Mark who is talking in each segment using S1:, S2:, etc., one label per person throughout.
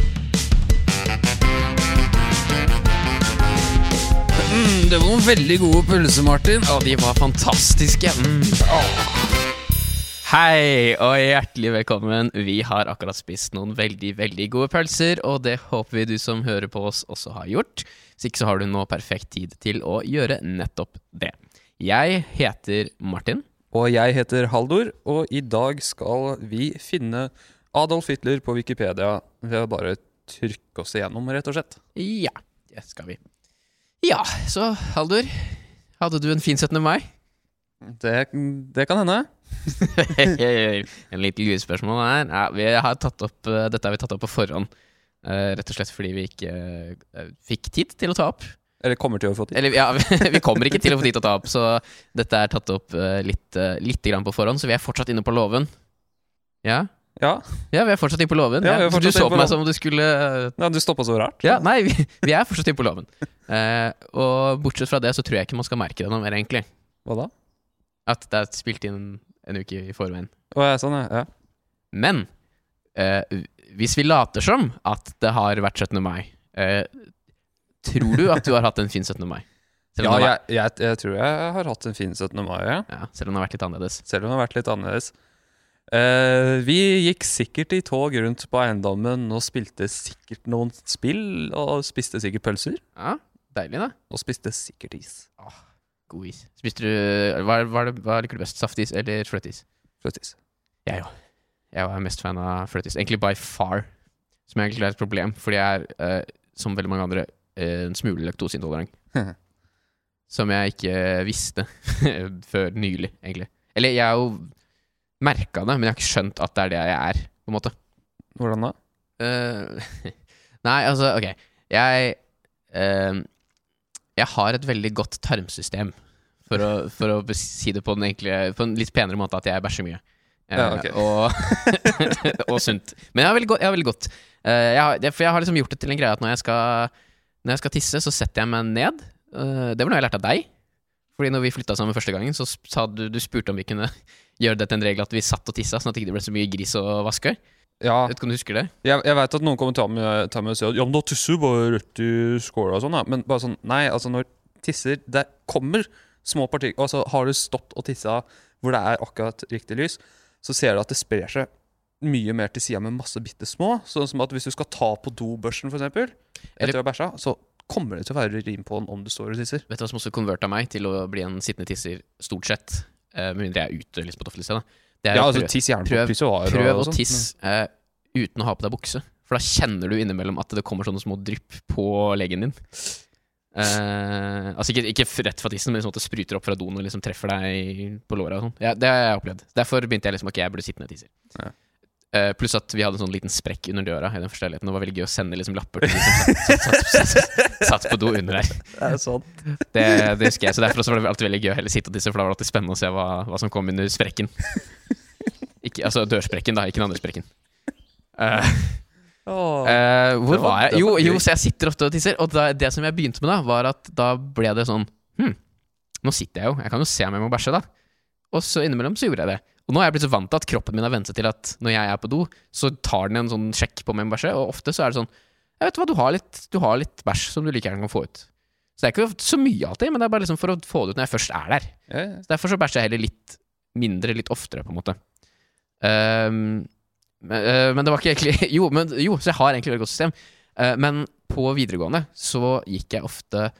S1: men Mm, det var noen veldig gode pølser, Martin. Ah.
S2: Å, de var fantastiske. Mm. Hei og hjertelig velkommen. Vi har akkurat spist noen veldig veldig gode pølser, og det håper vi du som hører på oss også har gjort. Hvis ikke så har du nå perfekt tid til å gjøre nettopp det. Jeg heter Martin.
S3: Og jeg heter Haldor, og i dag skal vi finne Adolf Hitler på Wikipedia ved å bare trykke oss igjennom, rett og slett.
S2: Ja, det skal vi. Ja, så Haldur, hadde du en fin 17. mai?
S3: Det, det kan hende.
S2: en liten lurespørsmål her. Ja, vi har tatt opp, eh, dette har vi tatt opp på forhånd. eh, rett og slett fordi vi ikke eh, fikk tid til å ta opp.
S3: Eller kommer til å få tid.
S2: Eller ja, vi kommer ikke til å få tid til å ta opp, så dette er tatt opp eh, litt, eh, lite grann på forhånd. Så vi er fortsatt inne på låven. Ja?
S3: Ja,
S2: ja, vi er fortsatt inne på låven.
S3: Ja, vi er
S2: Så du
S3: fortsatt
S2: så
S3: inne på
S2: på meg
S3: låven.
S2: som om du skulle eh,
S3: ja du stoppa så rart.
S2: Ja, nei, vi, vi er fortsatt inne på låven. Eh, og bortsett fra det så tror jeg ikke man skal merke det noe mer, egentlig.
S3: Hva da?
S2: At det er spilt inn en uke i forveien.
S3: Å, ja, sånn, ja. ja.
S2: Men eh, hvis vi later som at det har vært 17. mai, eh, tror du at du har hatt en fin 17. mai? Selv om, det,
S3: Ja,
S2: har,
S3: jeg, jeg, jeg tror jeg har hatt en fin 17. mai, ja.
S2: vært- ja, selv om det har vært litt annerledes.
S3: selv om det har vært litt annerledes. Eh, vi gikk sikkert i tog rundt på eiendommen og spilte sikkert noen spill, og spiste sikkert pølser,
S2: Ja, Deilig, da.
S3: og spiste sikkert is.
S2: God is. Spiste du Hva, hva, er det- hva liker du best? Saftis eller fløteis?
S3: Fløteis.
S2: Jeg òg. Jeg var mest fan av fløteis. Egentlig by far. Som egentlig er et problem, fordi jeg er, eh, som veldig mange andre, eh, en smule laktoseintolerant. som jeg ikke visste før nylig, egentlig. Eller jeg har jo merka det, men jeg har ikke skjønt at det er det jeg er, på en måte.
S3: Hvordan da?
S2: Eh, nei, altså, ok. Jeg eh, Jeg har et veldig godt tarmsystem, for å, for å si det på, den enkle, på en litt penere måte, at jeg bæsjer mye. Eh,
S3: Ja, ok.
S2: og, og sunt. Men jeg har veldig godt. Jeg har, veldig godt. Eh, jeg har, det, for jeg har liksom gjort det til en greie at når jeg skal, når jeg skal tisse, så setter jeg meg ned. Eh, det var noe jeg lærte av deg. Fordi når vi flytta sammen første gangen, så sp- sa du, du spurte om vi kunne gjøre det til en regel at vi satt og tissa, sånn at det ikke ble så mye gris og vaske.
S3: Ja,
S2: Vet ikke om du husker det?
S3: jeg, jeg veit at noen kommer til å ta med- ta med og si at ja, men da tisser du bare rett i skåla og sånn, da. Men bare sånn, nei, altså når tisser Det kommer små partikler Altså har du stått og tissa hvor det er akkurat riktig lys, så ser du at det sprer seg mye mer til sida med masse bitte små. Sånn som at hvis du skal ta på dobørsten, for eksempel,
S2: Eller-
S3: etter å ha bæsja, så kommer det til å være rim på den om du står og tisser.
S2: Vet du hva som også konverta meg til å bli en sittende tisser, stort sett? Eh, Med mindre jeg er ute liksom på et offentlig sted, da. Det er
S3: Ja,
S2: å
S3: altså
S2: prøve-
S3: tiss gjerne på sånn.
S2: prøv-
S3: pissoarer
S2: Prøv å
S3: sånt.
S2: tisse eh, uten å ha på deg bukse. For da kjenner du innimellom at det kommer sånne små drypp på leggen din. Eh, altså ikke, ikke f- rett fra tissen, men liksom at det spruter opp fra doen og liksom treffer deg på låra. og sånn. Ja, det har jeg opplevd. Derfor begynte jeg liksom ok, jeg burde sitte ned og tisse.
S3: Ja.
S2: Eh, pluss at vi hadde en sånn liten sprekk under døra. i den første leiligheten. Det var veldig gøy å sende liksom lapper til de som satt, satt, satt, satt, satt på do under her.
S3: Det er sant.
S2: Det, det husker jeg, så Derfor også var det alltid veldig gøy å heller sitte og tisse, for da var det alltid spennende å se hva, hva som kom under sprekken. Ikke, altså dørsprekken, da, ikke den andre sprekken. Eh,
S3: Åh.
S2: eh, hvor
S3: Det var-
S2: var jeg?
S3: det
S2: Jo,
S3: var gøy.
S2: jo, så jeg sitter ofte og tisser. Og da, det som jeg begynte med da, var at da ble det sånn Hm, nå sitter jeg jo. Jeg kan jo se om jeg må bæsje, da. Og så innimellom så gjorde jeg det. Og nå er jeg blitt så vant til at kroppen min har vent seg til at når jeg er på do, så tar den en sånn sjekk på om jeg må bæsje, og ofte så er det sånn Jeg vet hva, du har litt, du har litt bæsj som du like gjerne kan få ut. Så det er ikke så mye alltid, men det er bare liksom for å få det ut når jeg først er der.
S3: Ja, ja.
S2: Så Derfor så bæsjer jeg heller litt mindre, litt oftere, på en måte. Ehm, men, eh, men det var ikke egentlig Jo, men, jo så jeg har egentlig veldig godt system. Eh, men på videregående så gikk jeg ofte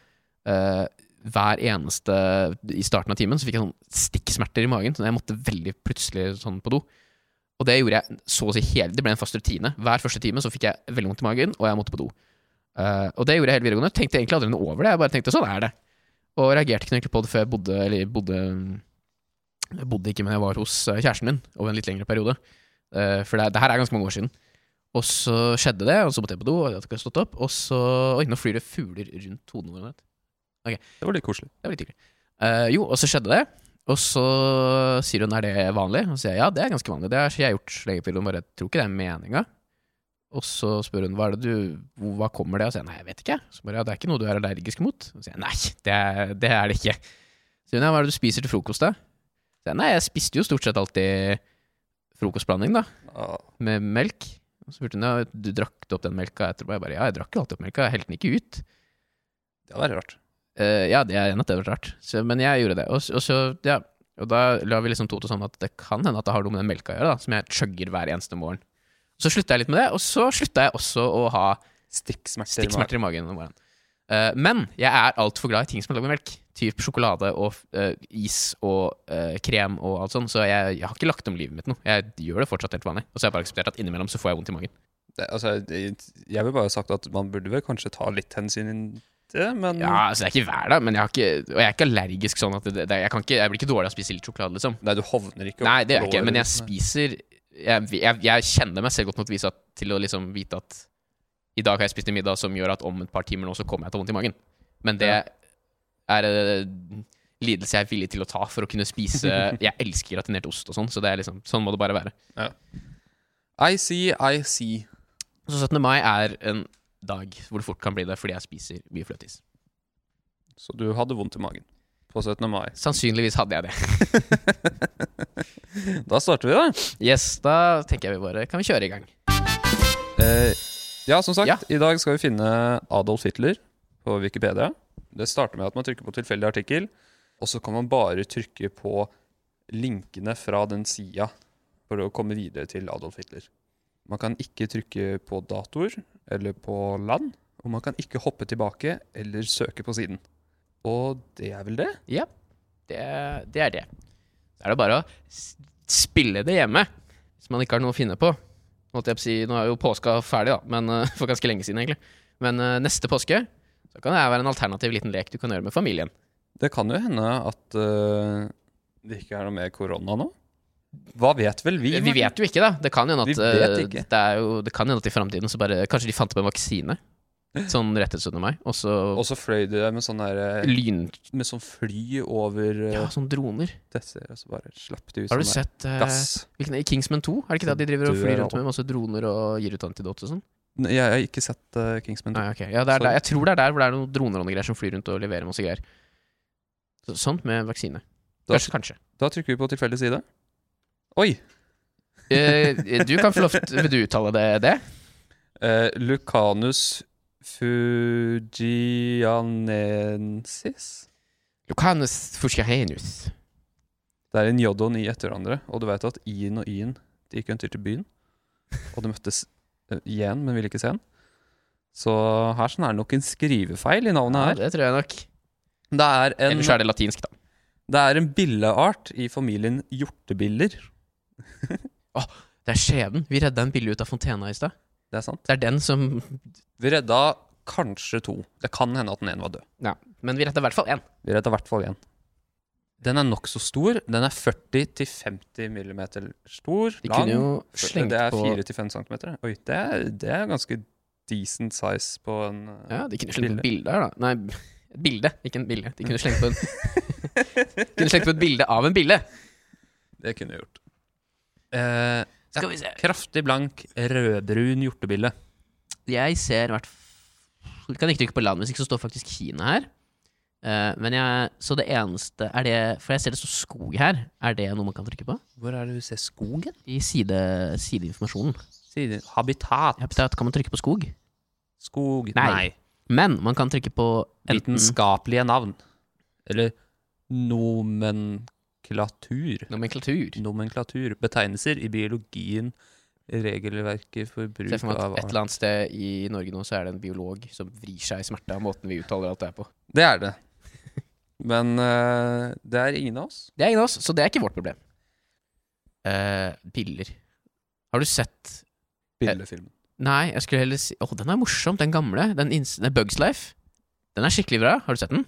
S2: eh, hver eneste I starten av timen så fikk jeg sånn stikksmerter i magen. Så jeg måtte veldig plutselig sånn på do. Og det gjorde jeg så å si hele Det ble en fast rutine. Hver første time så fikk jeg veldig vondt i magen, og jeg måtte på do. Eh, og det gjorde jeg hele videregående. Tenkte egentlig aldri noe over det. Jeg bare tenkte sånn er det. Og reagerte ikke noe egentlig på det før jeg bodde Eller bodde Jeg bodde ikke, men jeg var hos eh, kjæresten min over en litt lengre periode. Eh, for det, det her er ganske mange år siden. Og så skjedde det, og så måtte jeg på do, og jeg hadde ikke stått opp, og så Oi, nå flyr det fugler rundt hodene våre.
S3: Det var litt koselig.
S2: Det var litt hyggelig. Eh, jo, og så skjedde det. Og så sier hun er det vanlig? Og så sier jeg ja, det er ganske vanlig. Det har jeg gjort lenge til. Hun bare tror ikke det er meninga. Og så spør hun hva er det du, hva kommer det av? Og så sier jeg nei, jeg vet ikke. Så bare ja, det er ikke noe du er allergisk mot? Og så sier jeg nei, det er det, er det ikke. Så sier hun ja, hva er det du spiser til frokost da? Så sier jeg nei, jeg spiste jo stort sett alltid frokostblanding da,
S3: Åh.
S2: med melk. Og så spurte hun ja, du drakk du opp den melka etterpå? Jeg bare ja, jeg drakk jo alltid opp melka, jeg helte den ikke ut.
S3: Det var rart.
S2: Eh, eh, Ja, det er enig at det var rart, så, men jeg gjorde det. Og, s- og så, ja Og da la vi liksom to til sånn at det kan hende at det har noe med den melka å gjøre, da, som jeg chugger hver eneste morgen. Så slutta jeg litt med det, og så slutta jeg også å ha
S3: Stikksmerter.
S2: stikksmerter i magen om morgenen. Eh, men jeg er altfor glad i ting som er lagd med melk. Typ sjokolade og eh, is og eh, krem og alt sånt. Så jeg, jeg har ikke lagt om livet mitt noe. Jeg gjør det fortsatt helt vanlig. Og så har jeg bare akseptert at innimellom så får jeg vondt i magen.
S3: Det, altså, det- jeg vil bare sagt at man burde vel kanskje ta litt hensyn til det, men
S2: Ja, altså det er ikke hver dag, men jeg har ikke, og jeg er ikke allergisk sånn at det, det, jeg, kan ikke, jeg blir ikke dårlig av å spise litt sjokolade, liksom.
S3: Nei, du hovner ikke. opp
S2: Nei, det gjør jeg ikke,
S3: lår,
S2: men jeg
S3: liksom.
S2: spiser Jeg, jeg, jeg kjenner meg selv godt nok til å vise at, til å liksom vite at i dag har jeg spist en middag som gjør at om et par timer nå så kommer jeg til å ha vondt i magen. Men det
S3: Ja.
S2: er eh, lidelse jeg er villig til å ta for å kunne spise Jeg elsker gratinert ost og sånn, så det er liksom, sånn må det bare være.
S3: I see, I see.
S2: Så 17. mai er en dag hvor det fort kan bli det fordi jeg spiser mye fløteis.
S3: Så du hadde vondt i magen på 17. mai.
S2: Sannsynligvis hadde jeg det.
S3: Da starter vi, da.
S2: Yes, da tenker jeg vi bare kan vi kjøre i gang.
S3: Eh, ja, som sagt,
S2: Ja.
S3: i dag skal vi finne Adolf Hitler på Wikipedia. Det starter med at man trykker på tilfeldig artikkel, og så kan man bare trykke på linkene fra den sida for å komme videre til Adolf Hitler. Man kan ikke trykke på datoer eller på land, og man kan ikke hoppe tilbake eller søke på siden. Og det er vel det?
S2: Ja, det, det er det. Så er det bare å s- spille det hjemme, hvis man ikke har noe å finne på. Måtte jeg på si, nå er jo påska ferdig, da, men eh, for ganske lenge siden, egentlig. Men eh, neste påske så kan det her være en alternativ liten lek du kan gjøre med familien.
S3: Det kan jo hende at eh, det ikke er noe mer korona nå. Hva vet vel vi?
S2: Vi,
S3: Morten?
S2: vet jo ikke, da. Det kan hende
S3: Vi
S2: at,
S3: vet
S2: eh,
S3: ikke.
S2: det er jo, det kan hende at i framtiden så bare Kanskje de fant opp en vaksine sånn rett etter 17. mai, og så
S3: Og så fløy de der med sånn der eh,
S2: lyn...
S3: med sånn fly over
S2: Ja,
S3: ja.
S2: sånn droner.
S3: disse, og så bare slapp de ut
S2: Har du
S3: sånn der
S2: sett eh,
S3: gass.
S2: hvilken, i Kingsman 2? Er det ikke det at de driver og
S3: Dør
S2: flyr
S3: av-
S2: rundt med masse droner og gir ut antidot og sånn?
S3: Nei, jeg har ikke sett eh, Kingsman.
S2: Nei, ok. Ja, det er
S3: Sorry.
S2: der, jeg tror det er der hvor det er noen droner og noe greier som flyr rundt og leverer masse greier. Så, sånt med vaksine.
S3: Da-
S2: Kanskje, kanskje.
S3: Da trykker vi på tilfeldig side. Oi!
S2: Eh, du kan få lov til Vil du uttale det? det?
S3: Eh, Lucanus fugianensis.
S2: Lucanus fuscahenus.
S3: Det er en j og en i etter hverandre, og du veit at i-en og i-en De gikk en tur til byen, og de møttes eh, igjen, men ville ikke se en. Så her sånn er det nok en skrivefeil i navnet
S2: Ja,
S3: her.
S2: det tror jeg nok.
S3: Det er en,
S2: Ellers så er det latinsk, da.
S3: det er en billeart i familien hjortebiller.
S2: Det er skjebnen. Vi redda en billig ut av fontena i stad.
S3: Det er sant.
S2: Det er den som
S3: Vi redda kanskje to. Det kan hende at den ene var død.
S2: Ja, men vi redda i hvert fall én.
S3: Vi redda i hvert fall én. Den er nokså stor. Den er 40-50 millimeter stor.
S2: De
S3: lang.
S2: kunne jo slengt
S3: det er
S2: på
S3: 4-5 centimeter. Oi, det er, det er ganske decent size på en eh,
S2: Ja, de kunne slengt på et bilde her, da. Nei, et bilde, ikke en bilde. De kunne slengt på, en, kunne slengt på et bilde av en bilde.
S3: Det kunne jeg gjort. Eh,
S2: Skal vi se.
S3: kraftig blank, rødbrun hjortebille.
S2: Jeg ser hvert f- Du kan ikke trykke på landmusikk, så står faktisk Kina her. Eh, men jeg Så det eneste er det For jeg ser det står skog her. Er det noe man kan trykke på?
S3: Hvor er det du ser skogen?
S2: I side, sideinformasjonen.
S3: Siden. Habitat.
S2: Jeg håper at Kan man trykke på skog?
S3: Skog.
S2: Nei. Men man kan trykke på mm. enten
S3: Vitenskapelige navn. Eller nomenklatur.
S2: nomenklatur
S3: Nomenklatur. Betegnelser i biologien, regelverket for bruk
S2: Se for meg
S3: av
S2: at et eller annet sted i Norge nå så er det en biolog som vrir seg i smerte av måten vi uttaler alt det er på.
S3: Det er det. Men eh, det er ingen av oss.
S2: Det er ingen av oss, så det er ikke vårt problem. Eh, biller. Har du sett
S3: Billefilmen.
S2: Nei, jeg skulle heller si Å, den er morsom, den gamle. Den, ins- den Bugs Life. Den er skikkelig bra. Har du sett den?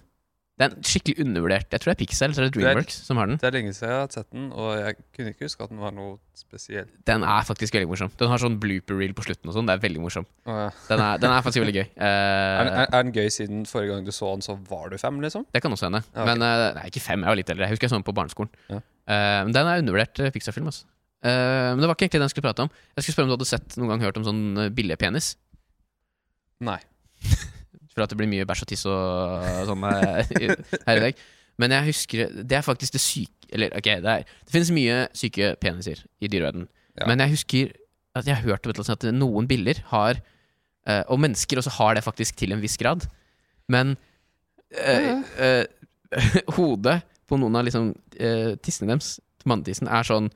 S2: Den er skikkelig undervurdert. Jeg tror det er Pixel eller Dreamworks som har den.
S3: Det er lenge siden jeg har sett den, og jeg kunne ikke huske at den var noe spesiell.
S2: Den er faktisk veldig morsom. Den har sånn blooper reel på slutten og sånn. Det er veldig morsom.
S3: Å, ja.
S2: Den er, den er faktisk veldig gøy. Eh,
S3: er, den- er, er den gøy siden forrige gang du så den, så var du fem, liksom?
S2: det kan også hende.
S3: Ja, ok.
S2: Men eh, nei, ikke fem. Jeg var litt eldre. Jeg husker jeg så den på barneskolen.
S3: Ja.
S2: Eh, men den er undervurdert eh, Pixar-film, altså. Eh, men det var ikke egentlig den jeg skulle prate om. Jeg skulle spørre om du hadde sett noen gang hørt om sånn eh, billepenis?
S3: Nei.
S2: For at det blir mye bæsj og tiss og sånn eh, her i dag. Men jeg husker Det er faktisk det syke Eller ok, det, er, det finnes mye syke peniser i dyreverdenen.
S3: Ja.
S2: Men jeg husker at jeg har hørt om et eller annet sånt at noen biller har eh, Og mennesker også har det faktisk til en viss grad. Men eh, eh, Hodet på noen av liksom eh, tissene deres, mannetissen, er sånn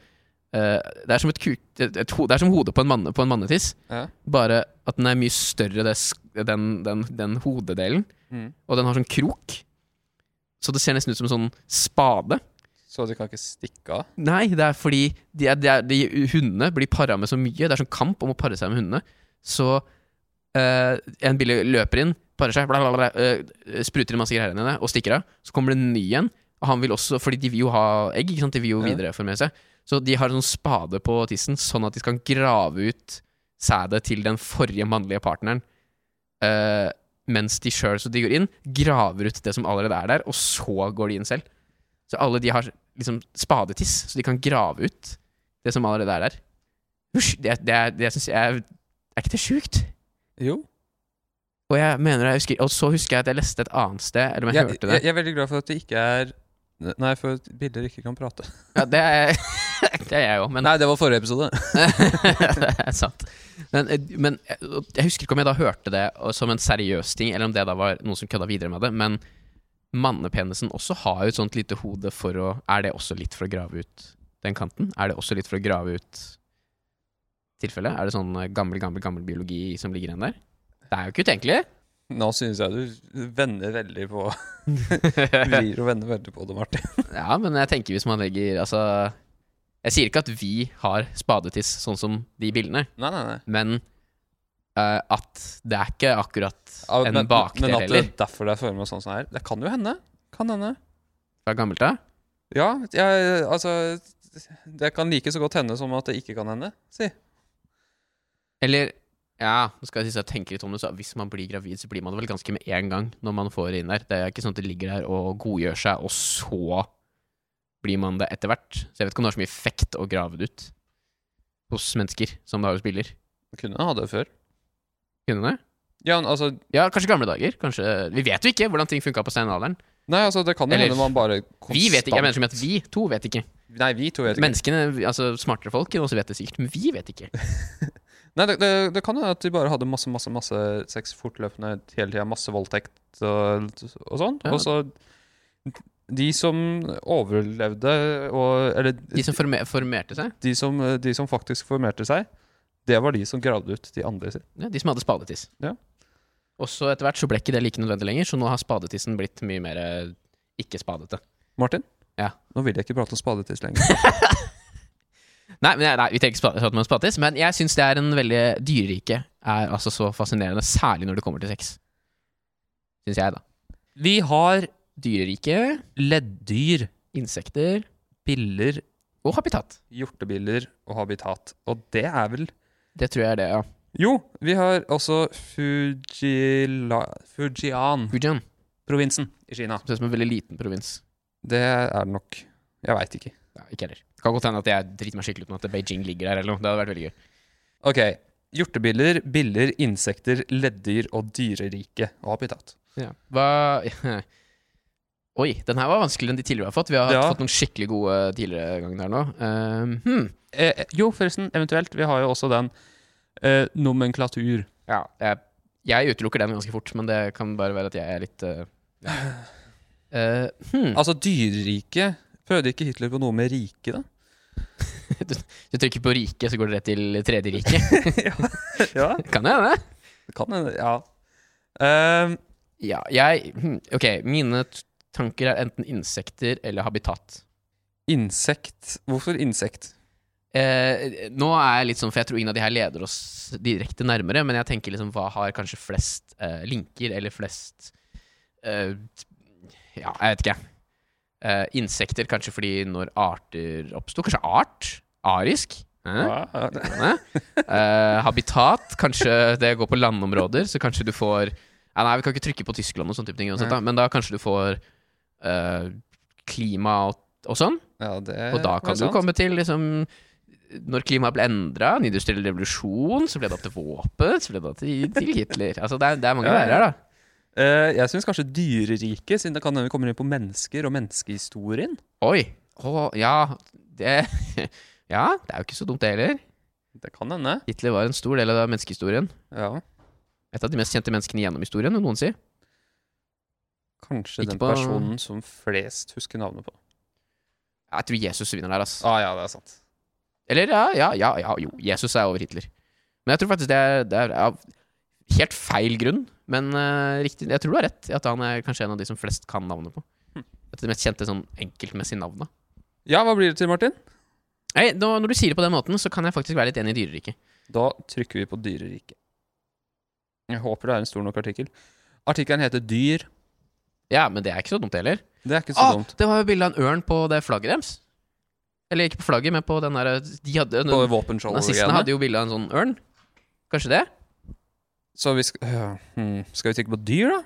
S2: eh, Det er som et kuk... Et, et, ho- det er som hodet på en, manne, på en mannetiss,
S3: Ja.
S2: bare at den er mye større, det, sk- den, den, den hodedelen.
S3: Mm.
S2: Og den har sånn krok. Så det ser nesten ut som en sånn spade.
S3: Så de kan ikke stikke av?
S2: Nei, det er fordi de, er, de, er, de hundene blir para med så mye. Det er sånn kamp om å pare seg med hundene. Så eh, en bille løper inn, parer seg, bla, bla, bla, eh, spruter inn masse greier inn i henne og stikker av. Så kommer det en ny en, og han vil også, fordi de vil jo ha egg. Ikke sant? De vil jo
S3: Ja.
S2: videreformere seg. Så de har en sånn spade på tissen, sånn at de skal grave ut sædet til den forrige mannlige partneren. Eh, mens de sjøl så de går inn, graver ut det som allerede er der, og så går de inn selv. Så alle de har liksom spadetiss, så de kan grave ut det som allerede er der. Husj, det, det, er- det syns jeg er Er ikke det sjukt?
S3: Jo.
S2: Og jeg mener jeg husker, og så husker jeg at jeg leste et annet sted, eller om jeg,
S3: Jeg,
S2: hørte det.
S3: jeg, jeg er veldig glad for at det ikke er Nei, for at bilder ikke kan prate.
S2: Ja, det er, det er jeg òg, men
S3: Nei, det var forrige episode.
S2: det er sant. Men, eh, men jeg jeg husker ikke om jeg da hørte det og som en seriøs ting, eller om det da var noen som kødda videre med det, men mannepenisen også har jo et sånt lite hode for å Er det også litt for å grave ut den kanten? Er det også litt for å grave ut tilfellet? Er det sånn eh, gammel, gammel, gammel biologi som ligger igjen der? Det er jo ikke utenkelig.
S3: Nå syns jeg du vender veldig på Vrir og vender veldig på det, Martin.
S2: ja, men jeg tenker hvis man legger Altså, jeg sier ikke at vi har spadetiss sånn som de bildene.
S3: Nei, nei, nei.
S2: Men eh, at det er ikke akkurat
S3: Ja,
S2: en
S3: men-
S2: bakdel
S3: Men at det
S2: heller.
S3: er derfor det er forma sånn som det er. Det kan jo hende. Kan hende.
S2: Fra gammelt av.
S3: Ja, jeg, altså Det kan like så godt hende som at det ikke kan hende, si.
S2: Eller ja, nå skal jeg si så jeg tenker litt om det, så hvis man blir gravid, så blir man det vel ganske med en gang når man får det inn der. Det er ikke sånn at det ligger der og godgjør seg, og så blir man det etter hvert. Så jeg vet ikke om det har så mye effekt å grave det ut hos mennesker som det har hos biler.
S3: Kunne ha det før.
S2: Kunne det?
S3: Ja, men altså
S2: Ja, kanskje gamle dager. Kanskje Vi vet jo ikke hvordan ting funka på steinalderen.
S3: Nei, altså, det kan jo
S2: Eller-
S3: hende man bare
S2: Vi vet ikke. Jeg
S3: konstant-
S2: mener som at vi to vet ikke.
S3: Nei, vi to vet ikke.
S2: Menneskene, altså smartere folk, enn oss vet det sikkert, men vi vet ikke.
S3: Nei, det, det, det kan hende at de bare hadde masse masse, masse sex fortløpende hele tida. Masse voldtekt og, og sånn.
S2: Ja.
S3: Og så De som overlevde og Eller
S2: De som forme- formerte seg,
S3: de som, de som faktisk formerte seg, det var de som gravde ut de andre sitt.
S2: ja, de som hadde spadetiss.
S3: Ja.
S2: Og så etter hvert så ble ikke det like nødvendig lenger, så nå har spadetissen blitt mye mer eh, ikke-spadete.
S3: Martin?
S2: Ja.
S3: Nå vil jeg ikke prate om spadetiss lenger.
S2: Nei, men, nei, vi trenger ikke spade- prate om spadetiss, men jeg syns det er en veldig dyrerike er altså så fascinerende, særlig når det kommer til sex. Syns jeg, da.
S3: Vi har
S2: Dyrerike,
S3: leddyr,
S2: insekter
S3: biller,
S2: og habitat.
S3: hjortebiller og habitat. Og det er vel
S2: Det tror jeg er det, ja.
S3: Jo, vi har også Fujila... Fujian-provinsen
S2: Fujian.
S3: i Kina.
S2: Ser ut som en veldig liten provins.
S3: Det er det nok. Jeg veit ikke.
S2: Nei, ikke heller. Kan godt hende at jeg driter meg skikkelig ut med at Beijing ligger der, eller noe. Det hadde vært veldig gøy.
S3: Ok. Hjortebiller, biller, insekter, leddyr og dyrerike og habitat.
S2: Ja. Hva Oi, den her var vanskeligere enn de tidligere vi har fått. Vi har
S3: Ja.
S2: fått noen skikkelig gode tidligere ganger her nå. Ehm, hmm.
S3: Eh, eh, jo, forresten, eventuelt. Vi har jo også den eh, nomenklatur.
S2: Ja, jeg, jeg utelukker den ganske fort, men det kan bare være at jeg er litt eh, ja. Eh, hmm.
S3: Altså, dyrerike Prøvde ikke Hitler på noe med rike, da?
S2: Du trykker på riket, så går det rett til tredje rike.
S3: ja,
S2: kan jeg det?
S3: det kan hende. Ja. Ehm,
S2: Ja, jeg hmm. Ok, mine t- tanker er enten insekter eller habitat.
S3: insekt Hvorfor insekt?
S2: Eh, nå er jeg litt sånn, for jeg tror ingen av de her leder oss direkte nærmere, men jeg tenker liksom, hva har kanskje flest eh, linker, eller flest eh, Ja, jeg vet ikke. Eh, insekter, kanskje fordi når arter oppsto Kanskje art? Arisk? Eh?
S3: Ja, ja.
S2: Eh, habitat, kanskje det går på landområder, så kanskje du får ja, Nei, vi kan ikke trykke på Tyskland og sånne type ting, uansett, da, men da kanskje du får eh, klima og, og sånn.
S3: Ja, det
S2: Og da kan
S3: er
S2: du
S3: Eh, sant.
S2: komme til liksom Når klimaet ble endra, en industriell revolusjon, så ble det opp til våpen, så ble det opp til, til Hitler. Altså det er, det er mange
S3: Ja, ja.
S2: veier her, da.
S3: Eh, jeg syns kanskje dyrerike, siden det kan hende vi kommer inn på mennesker og menneskehistorien.
S2: Oi. Å, ja. Det Ja, det er jo ikke så dumt, det heller.
S3: Det kan hende.
S2: Hitler var en stor del av menneskehistorien.
S3: Ja.
S2: Et av de mest kjente menneskene gjennom historien, vil noen si.
S3: kanskje
S2: Ikke
S3: den
S2: på-
S3: personen som flest husker navnet på.
S2: Jeg tror Jesus vinner der, ass.
S3: Ah, ja, det er sant.
S2: Eller ja, ja, ja, ja, jo. Jesus er over Hitler. Men jeg tror faktisk det er, det er av helt feil grunn. Men eh, riktig, jeg tror du har rett i at han er kanskje en av de som flest kan navnet på.
S3: Hm.
S2: Et av de mest kjente sånn enkeltmessige navnet.
S3: Ja, hva blir det til, Martin?
S2: Nei, nå, når du sier det på den måten, så kan jeg faktisk være litt enig i dyreriket.
S3: Da trykker vi på dyreriket. Jeg håper det er en stor nok artikkel. Artikkelen heter Dyr.
S2: Ja, men det er ikke så dumt heller.
S3: Det er ikke så
S2: Ah,
S3: dumt.
S2: det var jo bilde av en ørn på det flagget deres. Eller ikke på flagget, men på den der eh, de hadde,
S3: På våpenskjoldet.
S2: Nazistene hadde jo bilde av en sånn ørn. Kanskje det?
S3: Så vi skal øh, hmm, Skal vi trykke på dyr, da?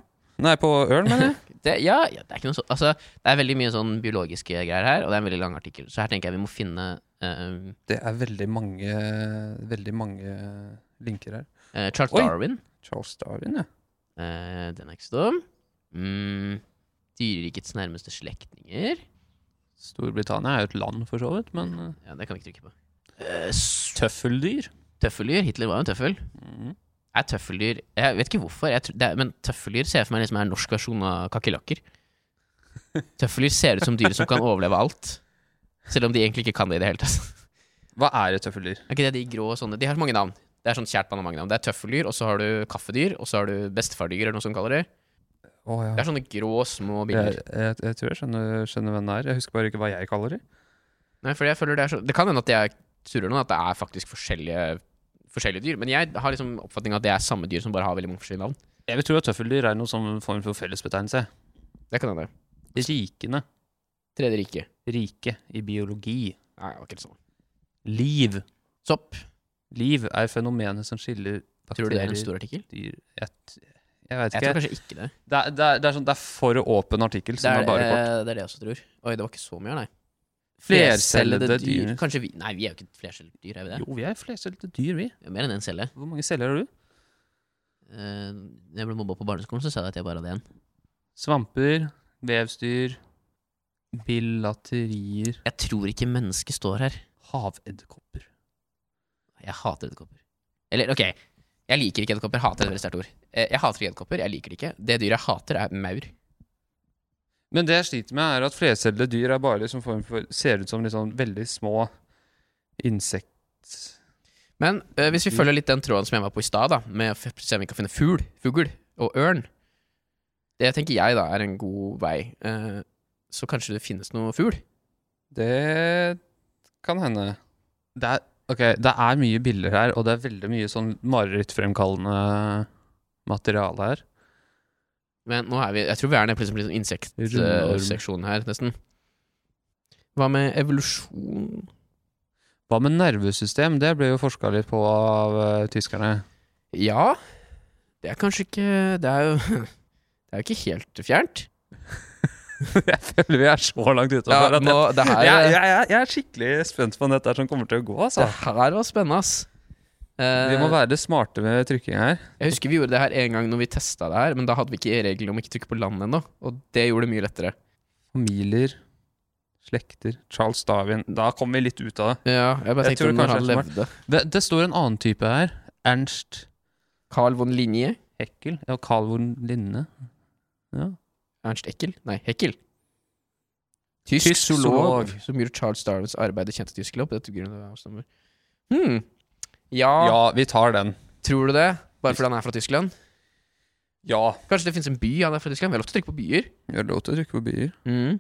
S3: Nei, på ørn, mener jeg.
S2: det? Ja, ja, det er ikke noe sånn Altså, det er veldig mye sånn biologiske greier her, og det er en veldig lang artikkel. Så her tenker jeg vi må finne eh,
S3: Det er veldig mange Veldig mange linker her.
S2: eh, Charles
S3: Oi.
S2: Darwin.
S3: Charles Darwin, ja.
S2: Eh, den er ikke så dum. Mm, dyrerikets nærmeste slektninger.
S3: Storbritannia er jo et land, for så vidt, men øh,
S2: Ja, det kan vi ikke trykke på. Eh, s-
S3: Tøffeldyr?
S2: tøffeldyr. Hitler var jo en tøffel.
S3: Mhm.
S2: Er tøffeldyr Jeg vet ikke hvorfor, jeg, tr- det er, men tøffeldyr ser jeg for meg liksom er en norsk versjon av kakerlakker. Tøffeldyr ser ut som dyr som kan overleve alt. Selv om de egentlig ikke kan det i det hele tatt.
S3: Hva er et tøffeldyr?
S2: Er ikke det de grå og sånne? De har så mange navn. Det er sånn kjært man har mange navn. Det er tøffeldyr, og så har du kaffedyr, og så har du bestefardyr, eller noe sånt kaller det.
S3: Å, ja.
S2: Det er sånne grå, små
S3: jeg,
S2: bilder.
S3: jeg, jeg tror jeg skjønner, skjønner hvem det er. Jeg husker bare ikke hva jeg kaller dem.
S2: Nei, fordi jeg føler det er så Det kan hende at jeg surrer noen, at det er faktisk forskjellige, forskjellige dyr. Men jeg har liksom oppfatning av at det er samme dyr som bare har veldig mange forskjellige navn.
S3: Jeg vil tro at tøffeldyr er noen sånn form for fellesbetegnelse.
S2: Det kan hende.
S3: Rikene.
S2: Tredje rike.
S3: Rike i biologi.
S2: Nei, det var ikke helt sånn.
S3: Liv.
S2: Sopp.
S3: Liv er fenomenet som skiller
S2: Tror du det er en
S3: bakterier,
S2: stor artikkel?
S3: dyr Jeg, t- jeg vet
S2: Jeg
S3: ikke.
S2: tror kanskje ikke det.
S3: det, er, det, er, det, er sånn, det er for åpen artikkel.
S2: Det
S3: Som
S2: er,
S3: er, bare kort.
S2: eh, det er det jeg også tror. Oi, det var ikke så mye her, nei.
S3: Flercellede dyr.
S2: Kanskje vi Nei, vi er jo ikke flercellede dyr, er vi det?
S3: Jo, vi er flercellede dyr, vi.
S2: Vi er Mer enn én celle.
S3: Hvor mange celler har du?
S2: Eh, Når jeg ble mobba på barneskolen, så sa jeg at jeg bare hadde én.
S3: Svamper, vevsdyr, bilaterier,
S2: Jeg tror ikke mennesket står her.
S3: havedderkopper
S2: Jeg hater edderkopper. Eller, ok, jeg liker ikke edderkopper. Hater er et veldig sterkt ord. Eh, Jeg hater ikke edderkopper. Jeg liker det ikke. Det dyret jeg hater, er maur.
S3: Men det jeg sliter med, er at flercellede dyr er bare liksom form for, ser ut som litt sånn veldig små insekt...
S2: Men eh, hvis vi følger litt den tråden som jeg var på i stad, da, med å f- se om vi kan finne fugl, fugl og ørn Det tenker jeg da er en god vei. Eh, så kanskje det finnes noe fugl?
S3: Det kan hende. Det er, ok, det er mye bilder her, og det er veldig mye sånn marerittfremkallende materiale her.
S2: Men nå er vi Jeg tror vi er nede på liksom, liksom
S3: Rundorm.
S2: insektseksjonen her, nesten. Hva med evolusjon?
S3: Hva med nervesystem? Det ble jo forska litt på av eh, tyskerne.
S2: Ja, det er kanskje ikke Det er jo, det er jo ikke helt fjernt.
S3: jeg føler vi er så langt
S2: Ja,
S3: utenfor. at
S2: nå,
S3: jeg,
S2: det, her,
S3: jeg, jeg, jeg, jeg er skikkelig spent på om dette er som kommer til å gå.
S2: det
S3: Altså.
S2: her var spennende, ass. Eh,
S3: Vi må være smarte med trykking her.
S2: jeg husker vi gjorde det her en gang når vi testa det her, men da hadde vi ikke reglene om ikke trykke på land ennå. Og det gjorde det mye lettere.
S3: Familier, slekter Charles Darwin. Da kommer vi litt ut av det.
S2: Ja, jeg bare
S3: Jeg
S2: tenkte
S3: tror
S2: når
S3: kanskje
S2: han
S3: det er
S2: levde.
S3: Det, det står en annen type her. Ernst
S2: Carl von Linje?
S3: Heckel. Ja, Carl von Linne. Ja.
S2: Ernst Eckel? Nei, Heckel. Tysk,
S3: Tysk
S2: zoolog
S3: zoolog.
S2: som gjorde Charles Darwins arbeid kjent i Tyskland. På dette grunnet av stemmer. Hmm. Ja,
S3: Ja, vi tar den.
S2: tror du det? Bare fordi han er fra Tyskland?
S3: Ja.
S2: Kanskje det finnes en by han er fra Tyskland? Vi har lov til å trykke på byer.
S3: Gjør lov til å trykke på byer.
S2: Mm.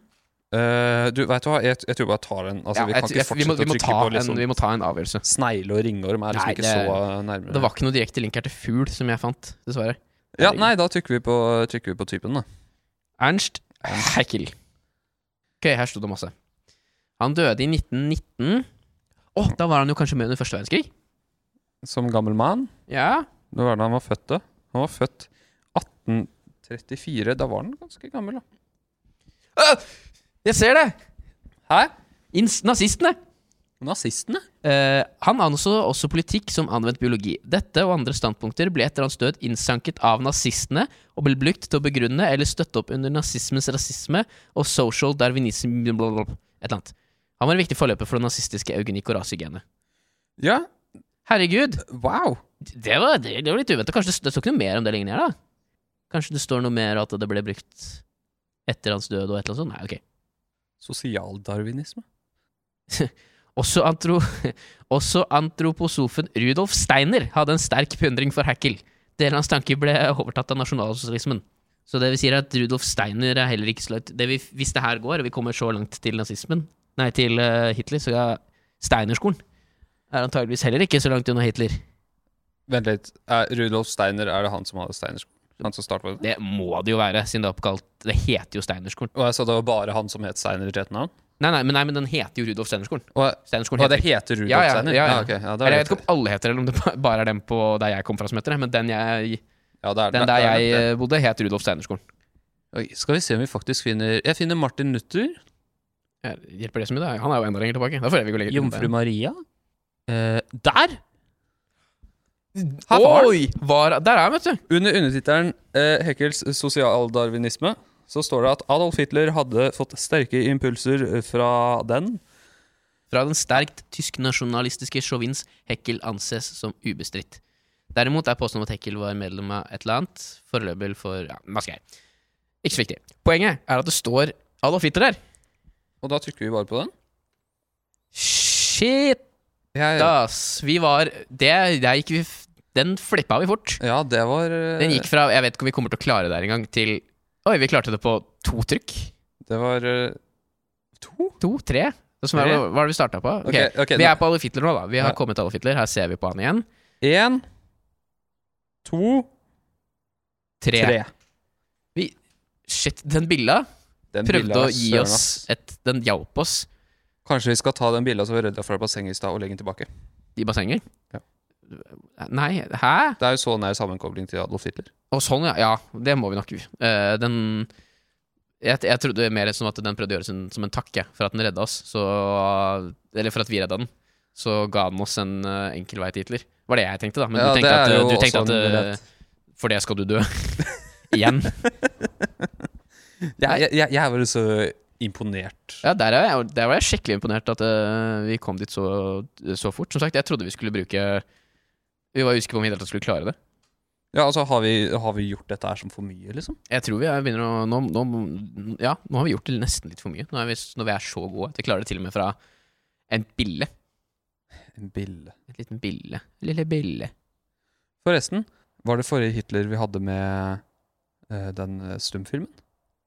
S3: Eh, du, vet du hva, jeg, jeg tror bare jeg tar den. Altså,
S2: Ja,
S3: vi
S2: jeg
S3: kan
S2: tror-
S3: ikke
S2: jeg- vi må-
S3: fortsette
S2: vi må
S3: å trykke
S2: ta
S3: på liksom,
S2: en- Vi må ta en avgjørelse.
S3: snegle og ringorm. Er liksom
S2: Nei,
S3: ikke
S2: det-
S3: så nærme.
S2: Det var ikke noe direkte link her til fugl som jeg fant, dessverre.
S3: Ja, nei, da trykker vi på, trykker vi på typen, da.
S2: Ernst Haeckel. Ok, her sto det masse. Han døde i 1919. Å, da var han jo kanskje med under første verdenskrig?
S3: Som gammel mann.
S2: Ja.
S3: Når var det han var født, da? Han var født 1834. Da var han ganske gammel, da.
S2: Jeg ser det!
S3: Hæ?
S2: Ins nazistene!
S3: Nazistene?
S2: Eh, han anså også politikk som anvendt biologi. Dette og andre standpunkter ble etter hans død innsanket av nazistene og ble brukt til å begrunne eller støtte opp under nazismens rasisme og social darwinism blablabla, Et eller annet. Han var en viktig forløper for den nazistiske eugenikk og rasegenet.
S3: Ja,
S2: Herregud!
S3: wow.
S2: Det var, det, det var litt uventet. Kanskje det, det står ikke noe mer om det lenger ned, da? Kanskje det står noe mer at det ble brukt etter hans død og et eller annet sånt? Nei, ok.
S3: Sosialdarwinisme?
S2: Også, antro, også antroposofen Rudolf Steiner hadde en sterk beundring for Haeckel. Deler av hans tanker ble overtatt av nasjonalsosialismen. Så det vi sier er at Rudolf Steiner er heller ikke så langt det vi, Hvis det her går, og vi kommer så langt til nazismen, nei, til eh, Hitler, så er Steinerskolen er antageligvis heller ikke så langt unna Hitler.
S3: Vent litt. Er Rudolf Steiner, er det han som hadde Steinerskolen? Han som startet med det?
S2: Det må det jo være, siden det er oppkalt Det heter jo Steinerskolen.
S3: Og jeg sa det var bare han som het Steiner i et navn?
S2: Nei, nei, men, nei, men den heter jo Rudolf Steinerskolen.
S3: Og,
S2: Steinerskolen
S3: og
S2: heter
S3: det heter Rudolf
S2: Ja, ja,
S3: Steiner?
S2: ja, ja.
S3: ok. ja, da
S2: Eller
S3: er
S2: jeg vet
S3: det,
S2: ikke om alle heter det, eller om det ba- bare er den på der jeg kom fra som heter det. Men den, jeg,
S3: ja, det er,
S2: den
S3: det
S2: der
S3: er
S2: jeg
S3: det.
S2: eh, bodde, het Rudolf Steinerskolen.
S3: Oi, Skal vi se om vi faktisk finner Jeg finner Martin Luther.
S2: Ja, Hjelper det så mye? da? Han er jo enda lenger tilbake. Da får jeg vel gå lenger
S3: Jomfru
S2: tilbake.
S3: Maria. Eh, der! Her var den.
S2: Oi! Var, der er han, vet du.
S3: Under undertittelen eh, 'Heckels sosialdarwinisme' så står det at Adolf Hitler hadde fått sterke impulser fra den.
S2: Fra den sterkt tysk-nasjonalistiske sjåvins Heckel anses som ubestridt. Derimot er påstanden om at Heckel var medlem av et eller annet foreløpig for ja, hva skal jeg. Ikke så viktig. Poenget er at det står Adolf Hitler der.
S3: Og da trykker vi bare på den.
S2: Shit,
S3: Jeg,
S2: ass! Vi var Det der gikk vi f- Den flippa vi fort.
S3: ja, det var eh,
S2: Den gikk fra 'jeg vet ikke om vi kommer til å klare det her engang' til 'oi, vi klarte det på to trykk'.
S3: Det var eh, to?
S2: To? Tre? Det som er,
S3: Tre?
S2: hva var det vi starta på? Ok,
S3: Ok, ok,
S2: Vi
S3: nå-
S2: er på Adolf Hitler nå, da. Vi har
S3: Ja.
S2: kommet til Adolf Hitler. Her ser vi på han igjen.
S3: Én, to,
S2: Tre.
S3: tre.
S2: Shit, den billa
S3: Den
S2: prøvde
S3: bilda,
S2: å gi
S3: søren,
S2: oss
S3: ass.
S2: et Den hjalp oss
S3: Kanskje vi skal ta den billa som vi rydda fra bassenget i stad, og legge den tilbake.
S2: i bassenget.
S3: Ja.
S2: Nei, hæ?
S3: Det er jo så nær sammenkobling til Adolf Hitler.
S2: Og sånn, ja. Ja, det må vi nok. Eh, den jeg, jeg trodde mer som at den prøvde å gjøre det som, som en takk jeg, for at den redda oss. Så, eller for at vi redda den. Så ga den oss en eh, enkel vei til Hitler. Var det jeg tenkte, da. Men
S3: Ja,
S2: du tenkte
S3: det er
S2: at, eh,
S3: jo sånn
S2: du tenkte
S3: også
S2: at
S3: en
S2: eh,
S3: mulighet.
S2: For det skal du dø. Igjen.
S3: Jeg, jeg, jeg, jeg var så imponert.
S2: Ja, der, er jeg, der var jeg skikkelig imponert at eh, vi kom dit så, så fort. Som sagt, jeg trodde vi skulle bruke Vi var usikre på om vi i det hele tatt skulle klare det.
S3: Ja, altså, har vi, har vi gjort dette her som for mye, liksom?
S2: Jeg tror vi er- begynner å nå, nå, Ja, nå har vi gjort det nesten litt for mye. Nå er vi, s- når vi er så gode at vi klarer det til og med fra en bille.
S3: En bille.
S2: En liten bille. En Lille bille.
S3: Forresten, var det forrige Hitler vi hadde med eh, den eh, stumfilmen?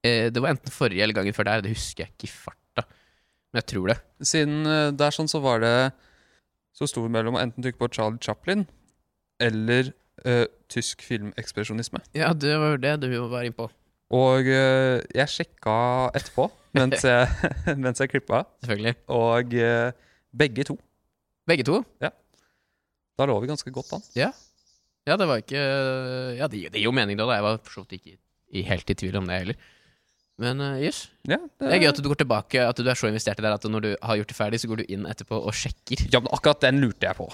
S2: Eh, det var enten forrige eller gangen før der, det husker jeg ikke i farta. Men jeg tror det.
S3: Siden eh, det er sånn, så var det så sto det mellom å enten trykke på Charlie Chaplin eller eh, tysk filmekspresjonisme.
S2: Ja, det var jo det du var innpå.
S3: Og eh, jeg sjekka etterpå mens jeg, mens jeg klippa,
S2: Selvfølgelig.
S3: og eh, begge to.
S2: Begge to.
S3: Da lå vi ganske godt an.
S2: Ja, det var ikke Ja, det, det gir jo mening, da. da. Jeg var for så vidt ikke i, helt i tvil om det heller. Men eh, jøss.
S3: Ja,
S2: det er gøy at du går tilbake, at du er så investert i det her at når du har gjort det ferdig, så går du inn etterpå og sjekker.
S3: Ja, men akkurat den lurte jeg på.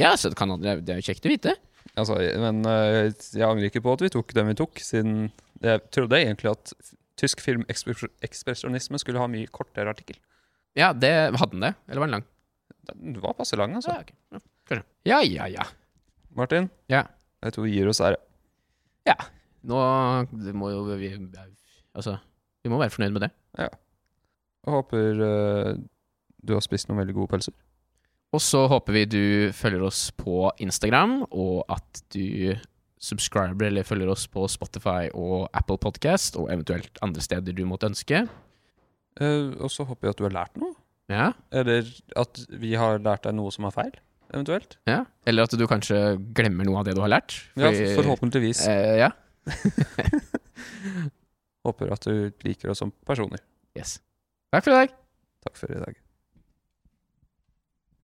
S2: Ja, så det, kan, det er jo kjekt å vite.
S3: Altså, men eh, jeg angrer ikke på at vi tok den vi tok, siden jeg trodde egentlig at f- tysk filmekspresjonisme skulle ha mye kortere artikkel.
S2: Ja, det hadde den det? Eller var den lang?
S3: Den var passe lang, altså.
S2: Ja, ok. Ja, kanskje. ja, ja, ja.
S3: Martin,
S2: Ja.
S3: jeg tror vi gir oss ære.
S2: Nå det må jo vi Altså, vi må være fornøyd med det.
S3: Jeg håper eh, du har spist noen veldig gode pølser.
S2: Og så håper vi du følger oss på Instagram, og at du subscriber eller følger oss på Spotify og Apple Podcast, og eventuelt andre steder du måtte ønske.
S3: Eh, og så håper jeg at du har lært noe.
S2: Ja.
S3: Eller at vi har lært deg noe som er feil, eventuelt.
S2: ja. Eller at du kanskje glemmer noe av det du har lært.
S3: Ja,
S2: Fordi-
S3: forhåpentligvis.
S2: Eh, ja.
S3: Håper at du liker oss som personer.
S2: Yes. Takk for i dag.
S3: Takk for i dag.